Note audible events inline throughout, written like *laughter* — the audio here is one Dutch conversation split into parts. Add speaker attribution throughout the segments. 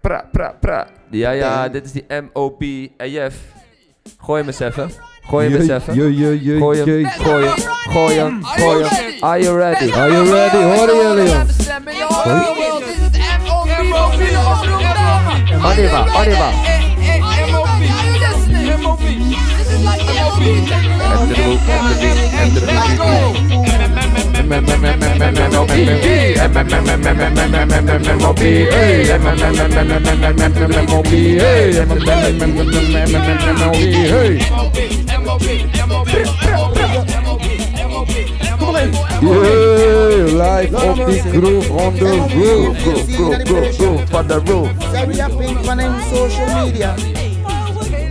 Speaker 1: pra, pra, pra.
Speaker 2: Ja, ja,
Speaker 1: Ding.
Speaker 2: dit is die M-O-P-E-F. Gooi hem eens even. Gooi hem eens even.
Speaker 3: Jee, jee, jee,
Speaker 2: Gooi hem,
Speaker 3: jee.
Speaker 2: gooi hem, gooi hem, gooi hem. Are you ready?
Speaker 3: Are you ready? Horen jullie hem?
Speaker 2: Arriva, arriva.
Speaker 3: Jee, live op die groove on the roof.
Speaker 2: Go, go, go, go, for the roof.
Speaker 4: Say we have been running social media.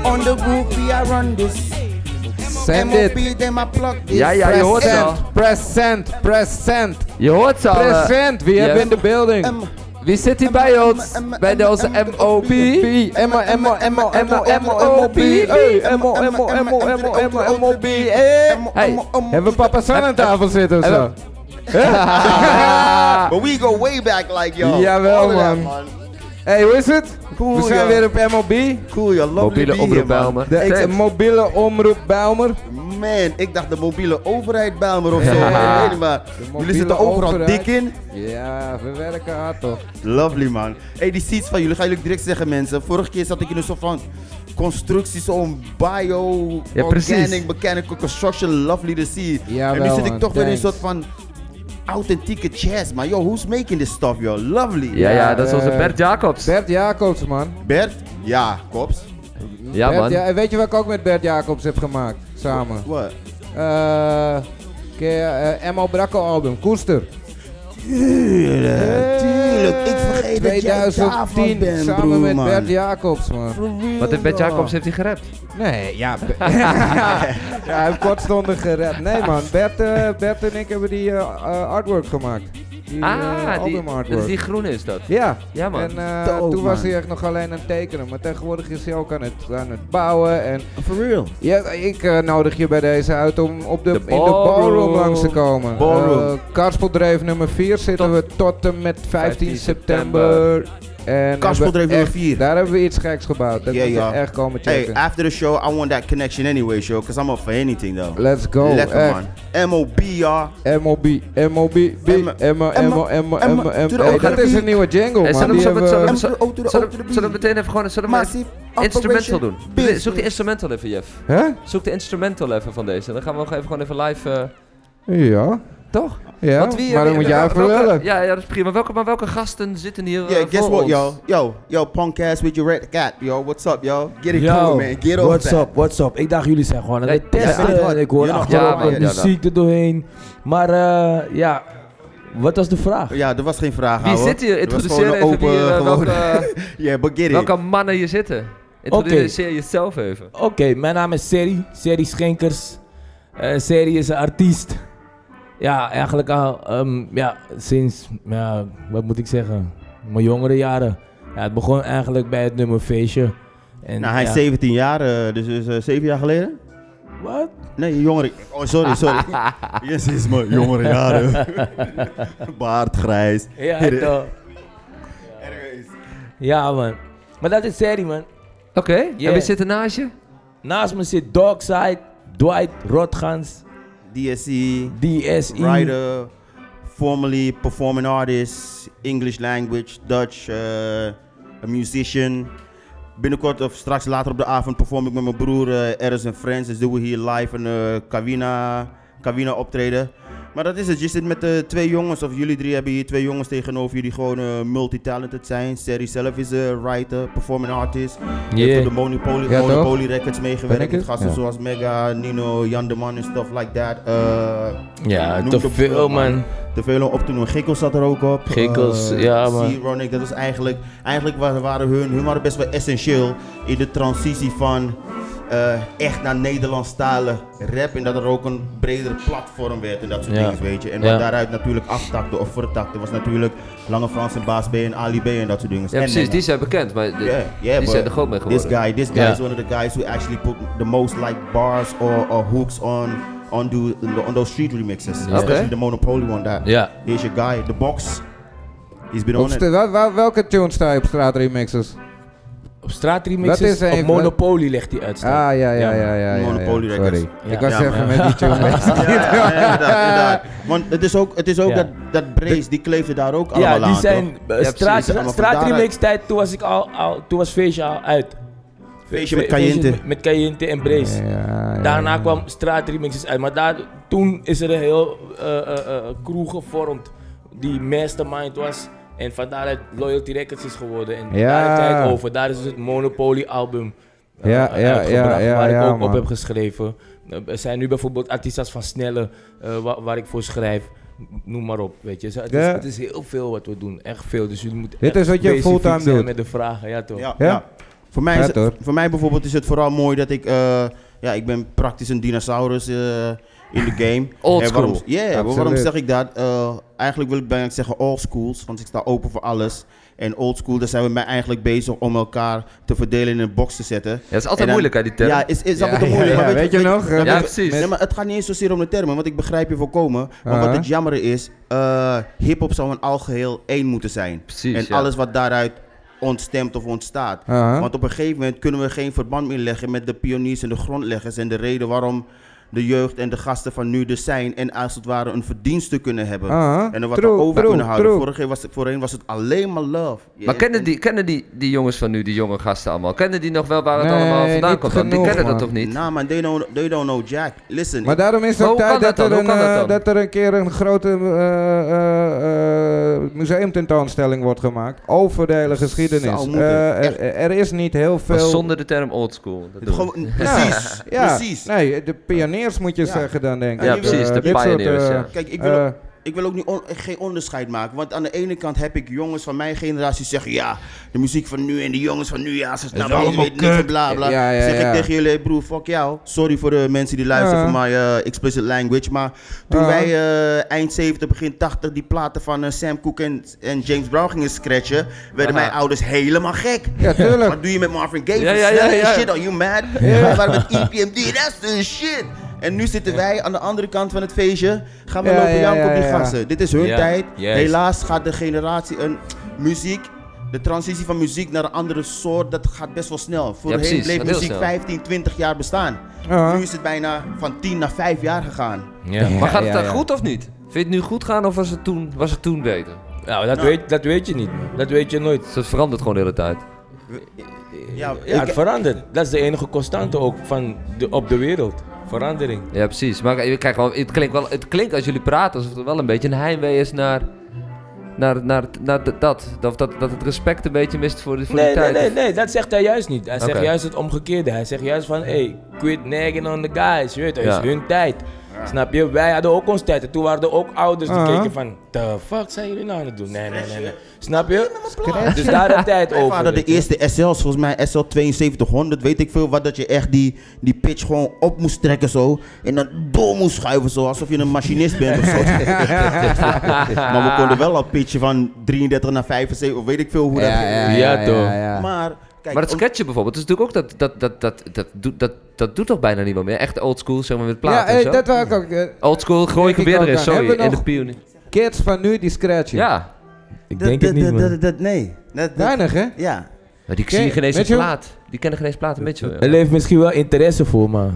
Speaker 4: On the group we are on this.
Speaker 3: Send it.
Speaker 4: MOP them a plug this.
Speaker 2: Ja, ja, je hoort ze al.
Speaker 3: Present, present, present,
Speaker 2: Je hoort ze al. eh.
Speaker 3: present. We
Speaker 2: Ja.
Speaker 3: hebben in de building.
Speaker 4: M-
Speaker 2: Wie zit hier bij ons? Bij de- onze M.O.B.
Speaker 3: P, Emma, Emma, Emma, Emma, Emma, Emma, B. Hey, Emma, Emma, Emma, Emma, Emma, Emma, B. Hey.
Speaker 2: Hey.
Speaker 3: Hebben we papa San aan tafel zitten of zo?
Speaker 2: Ah.
Speaker 4: But we go way back like yo.
Speaker 3: Jawel,
Speaker 4: All of that,
Speaker 3: man. Hey, hoe is het?
Speaker 4: Cool,
Speaker 3: We zijn
Speaker 4: joh.
Speaker 3: weer op MLB.
Speaker 4: Cool, yo. Lovely
Speaker 2: Mobiele
Speaker 4: to be
Speaker 2: oproep
Speaker 4: here, man.
Speaker 2: Bijlmer.
Speaker 3: De ex- mobiele omroep Bijlmer.
Speaker 4: Man, ik dacht de mobiele overheid Bijlmer of zo.
Speaker 3: Ja.
Speaker 4: Ik weet niet, maar
Speaker 3: mobiele
Speaker 4: jullie zitten overal
Speaker 3: overheid.
Speaker 4: dik in.
Speaker 3: Ja, we werken hard toch.
Speaker 4: Lovely man. Hey, die seats van jullie ga jullie direct zeggen mensen. Vorige keer zat ik in een soort van constructie, zo'n bio,
Speaker 2: Ja, precies.
Speaker 4: organic, mechanical construction, lovely to see.
Speaker 3: Jawel,
Speaker 4: en nu zit ik
Speaker 3: man,
Speaker 4: toch weer in een soort
Speaker 3: thanks.
Speaker 4: van authentieke jazz, man. Yo, who's making this stuff, yo? Lovely.
Speaker 2: Ja, ja, dat is onze
Speaker 3: Eh,
Speaker 2: Bert Jacobs.
Speaker 3: Bert Jacobs, man.
Speaker 4: Bert? Ja, Kops.
Speaker 2: Ja,
Speaker 3: Bert
Speaker 2: man.
Speaker 3: Ja- en weet je wat ik ook met Bert Jacobs heb gemaakt? Samen.
Speaker 4: What?
Speaker 3: Eh. ken je, eh, M.O. Bracco album, Koester.
Speaker 4: Tuurlijk, tuurlijk. Ik vergeet dat jij
Speaker 3: 2010,
Speaker 4: daarvan bent,
Speaker 3: samen
Speaker 4: broer,
Speaker 3: met
Speaker 4: man.
Speaker 3: Bert Jacobs, man.
Speaker 2: Wat heeft Bert Jacobs heeft hij gerapt?
Speaker 3: Nee, ja. Be- *laughs* ja, hij heeft kortstondig gered. Nee, man. Bert, eh, Bert en ik hebben die eh, eh, artwork gemaakt. Die, eh,
Speaker 2: Ah, die,
Speaker 3: album
Speaker 2: dat
Speaker 3: artwork.
Speaker 2: is die groene is dat.
Speaker 3: Ja.
Speaker 2: Ja, man.
Speaker 3: En eh,
Speaker 4: Dope,
Speaker 3: toen was
Speaker 4: man.
Speaker 3: hij echt nog alleen aan het tekenen. Maar tegenwoordig is hij ook aan het, aan het bouwen. En
Speaker 4: For real.
Speaker 3: ja, ik eh, nodig je bij deze uit om op de,
Speaker 2: De
Speaker 3: in de ballroom
Speaker 2: ballroom.
Speaker 3: langs te komen.
Speaker 4: Ballroom.
Speaker 3: Eh, Karspeldreef nummer 4 zitten
Speaker 2: Tot-
Speaker 3: we tot en met 15
Speaker 2: 15
Speaker 3: september. En
Speaker 4: Karspeldreef
Speaker 3: hebben we
Speaker 4: nummer
Speaker 3: echt-
Speaker 4: 4.
Speaker 3: Daar hebben we iets geks gebouwd. Dat
Speaker 4: Ja,
Speaker 3: moet je
Speaker 4: ja.
Speaker 3: echt komen
Speaker 4: Hey,
Speaker 3: checken.
Speaker 4: after the show, I want that connection anyway, show, because I'm up for anything, though.
Speaker 3: Let's go.
Speaker 4: Lekker,
Speaker 3: echt.
Speaker 4: man. MOB, y'all.
Speaker 3: MOB, MOB, B,
Speaker 4: Emma,
Speaker 3: Emma, Emma,
Speaker 4: Emma,
Speaker 3: Emma, Emma,
Speaker 4: Emma,
Speaker 3: Emma.
Speaker 4: doe de
Speaker 3: Hey,
Speaker 4: auto
Speaker 3: dat is
Speaker 4: erbij.
Speaker 3: een nieuwe jingle,
Speaker 2: Eh,
Speaker 3: man.
Speaker 2: zullen we-
Speaker 3: Die
Speaker 2: zullen we-
Speaker 3: hebben
Speaker 2: zullen
Speaker 3: we-
Speaker 4: Zullen we de auto- de
Speaker 2: Zullen
Speaker 4: auto
Speaker 2: we- zullen we meteen even gewoon zullen we maar
Speaker 4: Massive
Speaker 2: instrumental doen?
Speaker 4: operation
Speaker 2: Nee,
Speaker 4: business.
Speaker 2: Zoek de instrumental even, Jeff.
Speaker 3: eh, Hè?
Speaker 2: Zoek de instrumental even van deze. Dan gaan we nog even, gewoon even live... eh,
Speaker 3: Ja,
Speaker 2: toch?
Speaker 3: ja.
Speaker 2: Want wie,
Speaker 3: maar dan
Speaker 2: wie-
Speaker 3: moet jij
Speaker 2: wel-
Speaker 3: even
Speaker 2: welke-
Speaker 3: lullen.
Speaker 2: Ja, ja, dat is prima. Welke, maar welke gasten zitten hier eh,
Speaker 4: Yeah, guess
Speaker 2: voor
Speaker 4: what,
Speaker 2: ons?
Speaker 4: yo? Yo, yo, punk ass with your red cat, yo. What's up, yo? Get it
Speaker 5: Yo,
Speaker 4: going, man. Get off
Speaker 5: what's
Speaker 4: that.
Speaker 5: up, what's up? Ik dacht jullie zijn gewoon aan
Speaker 2: Ja,
Speaker 5: het
Speaker 2: ja,
Speaker 5: testen.
Speaker 4: ja, ja.
Speaker 5: ik hoor
Speaker 4: Ja,
Speaker 2: ja,
Speaker 5: achteraf
Speaker 2: ja,
Speaker 5: wat
Speaker 2: ja.
Speaker 5: muziek er doorheen. Maar eh, ja, wat was de vraag?
Speaker 4: Ja, er was geen vraag,
Speaker 2: Wie
Speaker 4: ouwe.
Speaker 2: zit hier?
Speaker 4: Nou, Er was gewoon
Speaker 2: Introduceer
Speaker 4: een
Speaker 2: even wie, eh,
Speaker 4: gewoon-
Speaker 2: welke,
Speaker 4: *laughs* Yeah, but get it.
Speaker 2: welke mannen hier zitten. Introduceer jezelf even.
Speaker 5: Oké, mijn naam is Seri, Seri Schenkers. Eh Seri is een artiest. Ja, eigenlijk al ehm, ja, sinds, ja, wat moet ik zeggen, mijn jongere jaren. Ja, het begon eigenlijk bij het nummer Feestje. En,
Speaker 4: Nou, hij is
Speaker 5: ja,
Speaker 4: 17 jaar, eh, dus is eh, 7 jaar geleden.
Speaker 5: Wat?
Speaker 4: Nee, jongeren. Oh, sorry,
Speaker 2: *laughs*
Speaker 4: sorry. yes, is mijn jongere jaren. *laughs* Baard grijs.
Speaker 5: Ja,
Speaker 4: Hit it.
Speaker 5: toch. Ja, man. Maar dat is Seri, man.
Speaker 2: Oké, en
Speaker 5: Yeah.
Speaker 2: wie zit er naast je?
Speaker 5: Naast me zit Dogside, Dwight Rotgans,
Speaker 4: DSE,
Speaker 5: DSI.
Speaker 4: writer, formerly performing artist, English language, Dutch, eh, a musician. Binnenkort of straks later op de avond perform ik met mijn broer eh Eris en Friends. Dus doen we hier live een eh Kawina, Kawina optreden. Maar dat is het. Je zit met eh, twee jongens, of jullie drie hebben hier twee jongens tegenover jullie die gewoon eh, multitalented zijn. Seri zelf is een writer, performing artist. Heeft
Speaker 5: Yeah.
Speaker 4: voor de Monopoly,
Speaker 3: Ja, toch?
Speaker 4: Monopoly Records
Speaker 3: Ben
Speaker 4: meegewerkt
Speaker 3: ik het?
Speaker 4: met gasten
Speaker 3: Ja.
Speaker 4: zoals Mega, Nino, Jan de Man en stuff like that. Eh,
Speaker 5: Ja,
Speaker 4: Noem
Speaker 5: te
Speaker 4: het op,
Speaker 5: veel,
Speaker 4: eh,
Speaker 5: man.
Speaker 4: te veel om op te noemen. Gikkels zat er ook op.
Speaker 5: Gikkels,
Speaker 4: Eh,
Speaker 5: ja, man.
Speaker 4: C-Ronic, dat was eigenlijk... Eigenlijk wa- waren hun, hun waren best wel essentieel in de transitie van... eh, echt naar Nederlandstalen rap en dat er ook een breder platform werd en dat soort
Speaker 5: Ja.
Speaker 4: dingen, weet je. En wat
Speaker 5: Ja.
Speaker 4: daaruit natuurlijk aftakte of vertakte was natuurlijk Lange Frans en Baas B en Ali B en dat soort dingen.
Speaker 2: Ja,
Speaker 4: En
Speaker 2: precies,
Speaker 4: Nenna.
Speaker 2: die zijn bekend, maar de-
Speaker 4: Yeah, yeah,
Speaker 2: die
Speaker 4: but
Speaker 2: zijn er groot mee
Speaker 4: This
Speaker 2: geworden.
Speaker 4: guy, this guy
Speaker 5: Yeah.
Speaker 4: is one of the guys who actually put the most like bars or, or hooks on on do on those street remixes,
Speaker 2: Yeah.
Speaker 4: especially
Speaker 2: Okay.
Speaker 4: the Monopoly one. That
Speaker 5: Ja.
Speaker 4: here's your guy, the box. He's been
Speaker 3: Op
Speaker 4: on it.
Speaker 3: st- wel- wel- welke tunes sta je op straat remixes?
Speaker 5: Op straat
Speaker 3: Wat
Speaker 5: remixes,
Speaker 3: is hij-
Speaker 5: op Monopoly legt hij uit.
Speaker 3: Ah, ja, ja, ja. ja, ja, ja.
Speaker 4: Monopoly Records.
Speaker 3: Sorry.
Speaker 5: Ja.
Speaker 3: Ik was
Speaker 4: Ja,
Speaker 3: even
Speaker 5: maar-
Speaker 3: met die tune bezig.
Speaker 4: Ja, ja, ja, inderdaad,
Speaker 2: *laughs*
Speaker 4: inderdaad. Want het is ook, het is ook
Speaker 5: Ja.
Speaker 4: dat, dat brace, die kleefde daar ook allemaal
Speaker 5: Ja,
Speaker 4: aan,
Speaker 5: die zijn
Speaker 4: toch?
Speaker 5: eh,
Speaker 4: Ja,
Speaker 5: straat,
Speaker 4: precies, allemaal van daaruit.
Speaker 5: straatremix tijd, toen was ik al, al toen was feestje al uit.
Speaker 4: Feestje met
Speaker 5: Fe-
Speaker 4: Cayenne.
Speaker 5: met- Met Cayenne en Brace.
Speaker 3: Ja, Ah, ja, ja.
Speaker 5: Daarna kwam straatremixes uit, maar daar, toen is er een heel eh, eh, eh, crew gevormd die mastermind was. En van daaruit Loyalty Records is geworden. En
Speaker 3: Ja.
Speaker 5: daar heeft hij het over. Daar is dus het Monopoly album eh,
Speaker 3: Ja,
Speaker 5: eh,
Speaker 3: ja,
Speaker 5: uitgebracht,
Speaker 3: ja, ja,
Speaker 5: waar ik
Speaker 3: ja,
Speaker 5: ook op
Speaker 3: man.
Speaker 5: heb geschreven. Eh, Er zijn nu bijvoorbeeld artiesten van Snelle eh, wa- waar ik voor schrijf. Noem maar op, weet je. Zo, Het, is,
Speaker 3: Ja.
Speaker 5: het is heel veel wat we doen, echt veel. Dus jullie moeten
Speaker 3: Dit
Speaker 5: echt
Speaker 3: is wat je
Speaker 5: specifiek
Speaker 3: fulltime
Speaker 5: zijn
Speaker 3: doet.
Speaker 5: met de vragen, ja toch?
Speaker 4: Ja,
Speaker 3: Ja?
Speaker 4: ja. Voor, mij is
Speaker 3: Vet,
Speaker 4: het-
Speaker 3: hoor.
Speaker 4: voor mij bijvoorbeeld is het vooral mooi dat ik... eh, ja, ik ben praktisch een dinosaurus eh, in de game.
Speaker 2: *laughs* Old
Speaker 4: En waarom-
Speaker 2: school.
Speaker 4: Ja, maar waarom
Speaker 3: Absoluut.
Speaker 4: zeg ik dat? Eh, eigenlijk wil ik bijna zeggen all schools, want ik sta open voor alles. En old school, daar zijn we mij eigenlijk bezig om elkaar te verdelen in een box te zetten.
Speaker 2: Ja, dat is altijd
Speaker 4: En dan-
Speaker 2: moeilijk, hè, die term.
Speaker 4: Ja, is, is
Speaker 3: Ja,
Speaker 4: altijd
Speaker 3: ja,
Speaker 4: moeilijk.
Speaker 3: ja,
Speaker 4: maar
Speaker 3: weet je nog?
Speaker 4: maar
Speaker 2: Ja,
Speaker 4: weet-
Speaker 2: precies.
Speaker 4: Nee, maar het gaat niet eens zozeer om de termen, want ik begrijp je volkomen. Maar
Speaker 3: Ah.
Speaker 4: wat het jammer is, eh hip-hop zou een algeheel één moeten zijn.
Speaker 2: Precies,
Speaker 4: en
Speaker 2: ja.
Speaker 4: alles wat daaruit ontstemt of ontstaat.
Speaker 3: Aha.
Speaker 4: Want op een gegeven moment kunnen we geen verband meer leggen met de pioniers en de grondleggers. En de reden waarom de jeugd en de gasten van nu er zijn. En als het ware een verdienste kunnen hebben.
Speaker 3: Aha.
Speaker 4: En er wat
Speaker 3: True,
Speaker 4: aan over
Speaker 3: true,
Speaker 4: kunnen houden.
Speaker 3: true.
Speaker 4: Vorig jaar was, voorheen was het alleen maar love.
Speaker 2: Maar
Speaker 4: En-
Speaker 2: kennen,
Speaker 4: en-
Speaker 2: die, kennen die, die jongens van nu, die jonge gasten allemaal, kennen die nog wel waar het
Speaker 3: Nee,
Speaker 2: allemaal vandaan
Speaker 3: niet
Speaker 2: komt? dan? die
Speaker 3: genoeg,
Speaker 2: kennen dat
Speaker 3: man. Nou,
Speaker 2: toch niet?
Speaker 4: Nah Nou, man, they don't, they don't know Jack. Listen,
Speaker 3: Maar daarom is
Speaker 2: Maar
Speaker 3: het
Speaker 2: hoe kan dat
Speaker 3: tijd dat,
Speaker 2: dan?
Speaker 3: er
Speaker 2: Hoe
Speaker 3: een,
Speaker 2: kan dat dan?
Speaker 3: eh, dat er een keer een grote eh, eh, eh, museumtentoonstelling wordt gemaakt over de hele geschiedenis.
Speaker 4: Zou moeten.
Speaker 3: Eh,
Speaker 4: Echt.
Speaker 3: er, er is niet heel
Speaker 2: Maar
Speaker 3: veel.
Speaker 2: zonder de term oldschool.
Speaker 4: het gewoon, precies,
Speaker 3: Ja,
Speaker 4: precies.
Speaker 3: Nee, de pioniers moet je
Speaker 4: Ja.
Speaker 3: zeggen dan denk ik.
Speaker 4: Ja,
Speaker 3: Eh,
Speaker 4: precies, de
Speaker 3: dit soort,
Speaker 2: pioneers,
Speaker 3: eh,
Speaker 2: ja.
Speaker 4: Kijk, ik wil,
Speaker 3: eh,
Speaker 4: ik wil ook niet on- geen onderscheid maken. Want aan de ene kant heb ik jongens van mijn generatie die zeggen... ja, de muziek van nu en de jongens van nu... ja, ze snappen alles, weet niks en bla bla.
Speaker 3: Ja, ja,
Speaker 4: zeg
Speaker 3: ja.
Speaker 4: ik tegen jullie, broer, fuck jou. Sorry voor de mensen die luisteren
Speaker 3: Ja.
Speaker 4: voor mijn eh, explicit language. Maar toen
Speaker 3: Ja.
Speaker 4: wij eh, eind 70, begin 80... die platen van eh, Sam Cooke en, en James Brown gingen scratchen... werden
Speaker 2: Aha.
Speaker 4: mijn ouders helemaal gek.
Speaker 3: ja, tuurlijk.
Speaker 4: Wat doe je met Marvin Gaye?
Speaker 2: Ja,
Speaker 4: Ja,
Speaker 2: ja, ja, ja.
Speaker 4: Shit, are you mad? Wij waren met E EPMD, that's the shit. En nu zitten wij aan de andere kant van het feestje. Gaan we
Speaker 3: Ja,
Speaker 4: lopen
Speaker 3: ja,
Speaker 4: janken op
Speaker 3: ja,
Speaker 4: die
Speaker 3: ja.
Speaker 4: gasten. Dit is hun
Speaker 5: Ja,
Speaker 4: tijd.
Speaker 5: juist.
Speaker 4: Helaas gaat de generatie en muziek... De transitie van muziek naar een andere soort, dat gaat best wel snel. Voorheen
Speaker 2: precies,
Speaker 4: bleef
Speaker 2: gaat heel
Speaker 4: muziek
Speaker 2: snel.
Speaker 4: 15, 20 jaar bestaan.
Speaker 3: Ja.
Speaker 4: Nu is het bijna van 10 naar 5 jaar gegaan.
Speaker 5: Ja.
Speaker 2: Maar gaat het
Speaker 3: ja,
Speaker 2: dan
Speaker 3: ja.
Speaker 2: goed of niet? Vind je het nu goed gaan of was het toen, was het toen beter?
Speaker 5: Nou, dat, Weet, dat weet je niet, man. Dat weet je nooit.
Speaker 2: Dus het verandert gewoon de hele tijd.
Speaker 4: Ja,
Speaker 5: Ja, het
Speaker 4: ik-
Speaker 5: verandert. Dat is de enige constante ook van de, op de wereld. Verandering.
Speaker 2: Ja, precies. Maar eh, kijk, wel, het klinkt, wel, het klinkt als jullie praten alsof er wel een beetje een heimwee is naar, naar, naar, naar d- dat. Dat, dat. dat het respect een beetje mist voor, de- voor
Speaker 5: Nee,
Speaker 2: die
Speaker 5: nee,
Speaker 2: tijd.
Speaker 5: nee, nee, dat zegt hij juist niet. Hij
Speaker 2: Oké.
Speaker 5: zegt juist het omgekeerde. Hij zegt juist van, hey, quit nagging on the guys. Je weet, het
Speaker 2: Ja.
Speaker 5: is hun tijd. Snap je? Wij hadden ook ons tijd. En toen waren er ook ouders die
Speaker 3: Aha.
Speaker 5: keken van, the fuck zijn jullie nou aan het doen? Nee, nee, nee. nee. Snap je? Dus daar de tijd
Speaker 4: Mijn
Speaker 5: over.
Speaker 4: vader, de
Speaker 5: weet je.
Speaker 4: eerste SL's, volgens mij SL 7200, weet ik veel wat, dat je echt die, die pitch gewoon op moest trekken zo. En dan door moest schuiven zo, alsof je een machinist bent of zo. *laughs* maar we konden wel al pitchen van 33 naar 75, of weet ik veel hoe dat ging.
Speaker 5: Ja, toch.
Speaker 4: Maar, kijk,
Speaker 2: Maar het
Speaker 4: om-
Speaker 2: sketchen bijvoorbeeld, dat is natuurlijk ook dat, dat, dat, dat, dat, doet- dat, dat doet toch bijna niemand meer? Echt oldschool, zeg maar, met
Speaker 3: Ja,
Speaker 2: platen
Speaker 3: eh,
Speaker 2: en zo.
Speaker 3: dat wou ik ook. eh,
Speaker 2: Oldschool, gooi ik er
Speaker 3: Denk
Speaker 2: weer
Speaker 3: ik ook
Speaker 2: in,
Speaker 3: aan.
Speaker 2: sorry.
Speaker 3: Hebben we
Speaker 2: En de
Speaker 3: nog-
Speaker 2: pionier.
Speaker 3: kids van nu die scratchen.
Speaker 2: Ja,
Speaker 5: Ik
Speaker 4: dat-
Speaker 5: denk het
Speaker 4: dat-
Speaker 5: niet,
Speaker 4: dat-
Speaker 5: man.
Speaker 4: dat- dat- Nee. Dat- dat-
Speaker 3: Weinig, hè?
Speaker 4: Ja.
Speaker 2: maar die
Speaker 3: Oké, Eh,
Speaker 2: zien geen eens een
Speaker 3: Mitchell?
Speaker 2: plaat. Die kennen geen eens platen, Mitchell.
Speaker 5: Er
Speaker 2: joh.
Speaker 5: leeft misschien wel interesse voor, maar...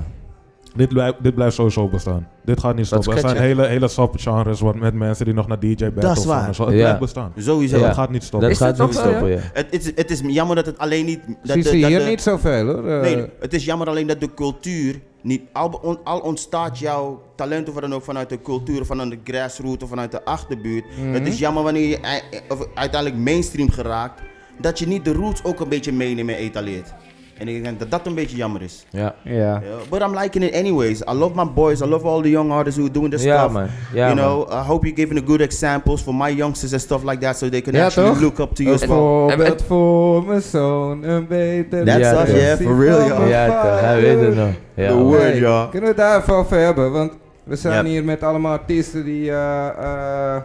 Speaker 1: Dit, blijft- dit blijft sowieso bestaan. Dit gaat niet stoppen. Er
Speaker 2: sketch,
Speaker 1: zijn hele, hele subgenres wat- met mensen die nog naar DJ battles
Speaker 4: Dat is waar.
Speaker 1: gaan en zo. Het
Speaker 5: Ja.
Speaker 1: blijft bestaan.
Speaker 4: Sowieso.
Speaker 1: Het
Speaker 5: Ja.
Speaker 1: gaat niet stoppen.
Speaker 5: Dat
Speaker 2: Is
Speaker 5: gaat
Speaker 2: dat
Speaker 5: niet
Speaker 2: toch wel,
Speaker 5: stoppen, ja.
Speaker 4: Het, het, is, het is jammer dat het alleen niet... Dat,
Speaker 3: Zie
Speaker 4: de-
Speaker 3: ze
Speaker 4: dat
Speaker 3: hier
Speaker 4: de-
Speaker 3: niet zoveel hoor. eh.
Speaker 4: Nee, het is jammer alleen dat de cultuur niet... Al, on- al ontstaat jouw talent of wat dan ook vanuit de cultuur, vanuit de grassroots of vanuit de achterbuurt. Het is jammer wanneer je ei- eh, of uiteindelijk mainstream geraakt, dat je niet de roots ook een beetje meeneemt en etaleert. En ik denk dat dat een beetje jammer is.
Speaker 5: Ja.
Speaker 3: Ja.
Speaker 4: Yeah, But I'm liking it anyways. I love my boys. I love all the young artists who are doing this
Speaker 5: Ja,
Speaker 4: stuff.
Speaker 5: man. Ja,
Speaker 4: you know, I hope you're giving the good examples for my youngsters and stuff like that, so they can
Speaker 3: Ja,
Speaker 4: actually
Speaker 3: toch?
Speaker 4: look up to you as
Speaker 3: Een
Speaker 4: well.
Speaker 2: en-
Speaker 3: voorbeeld
Speaker 2: en-
Speaker 3: voor mijn zoon, een beter...
Speaker 4: That's
Speaker 5: Ja, us, toch.
Speaker 4: yeah, for real,
Speaker 3: joh.
Speaker 4: joh.
Speaker 5: Ja, toch. Hij weet het nog. Ja,
Speaker 4: The
Speaker 5: man.
Speaker 4: word, ja.
Speaker 3: Kunnen we het daar even over hebben? Want we zijn
Speaker 4: Ja.
Speaker 3: hier met allemaal artiesten die... eh eh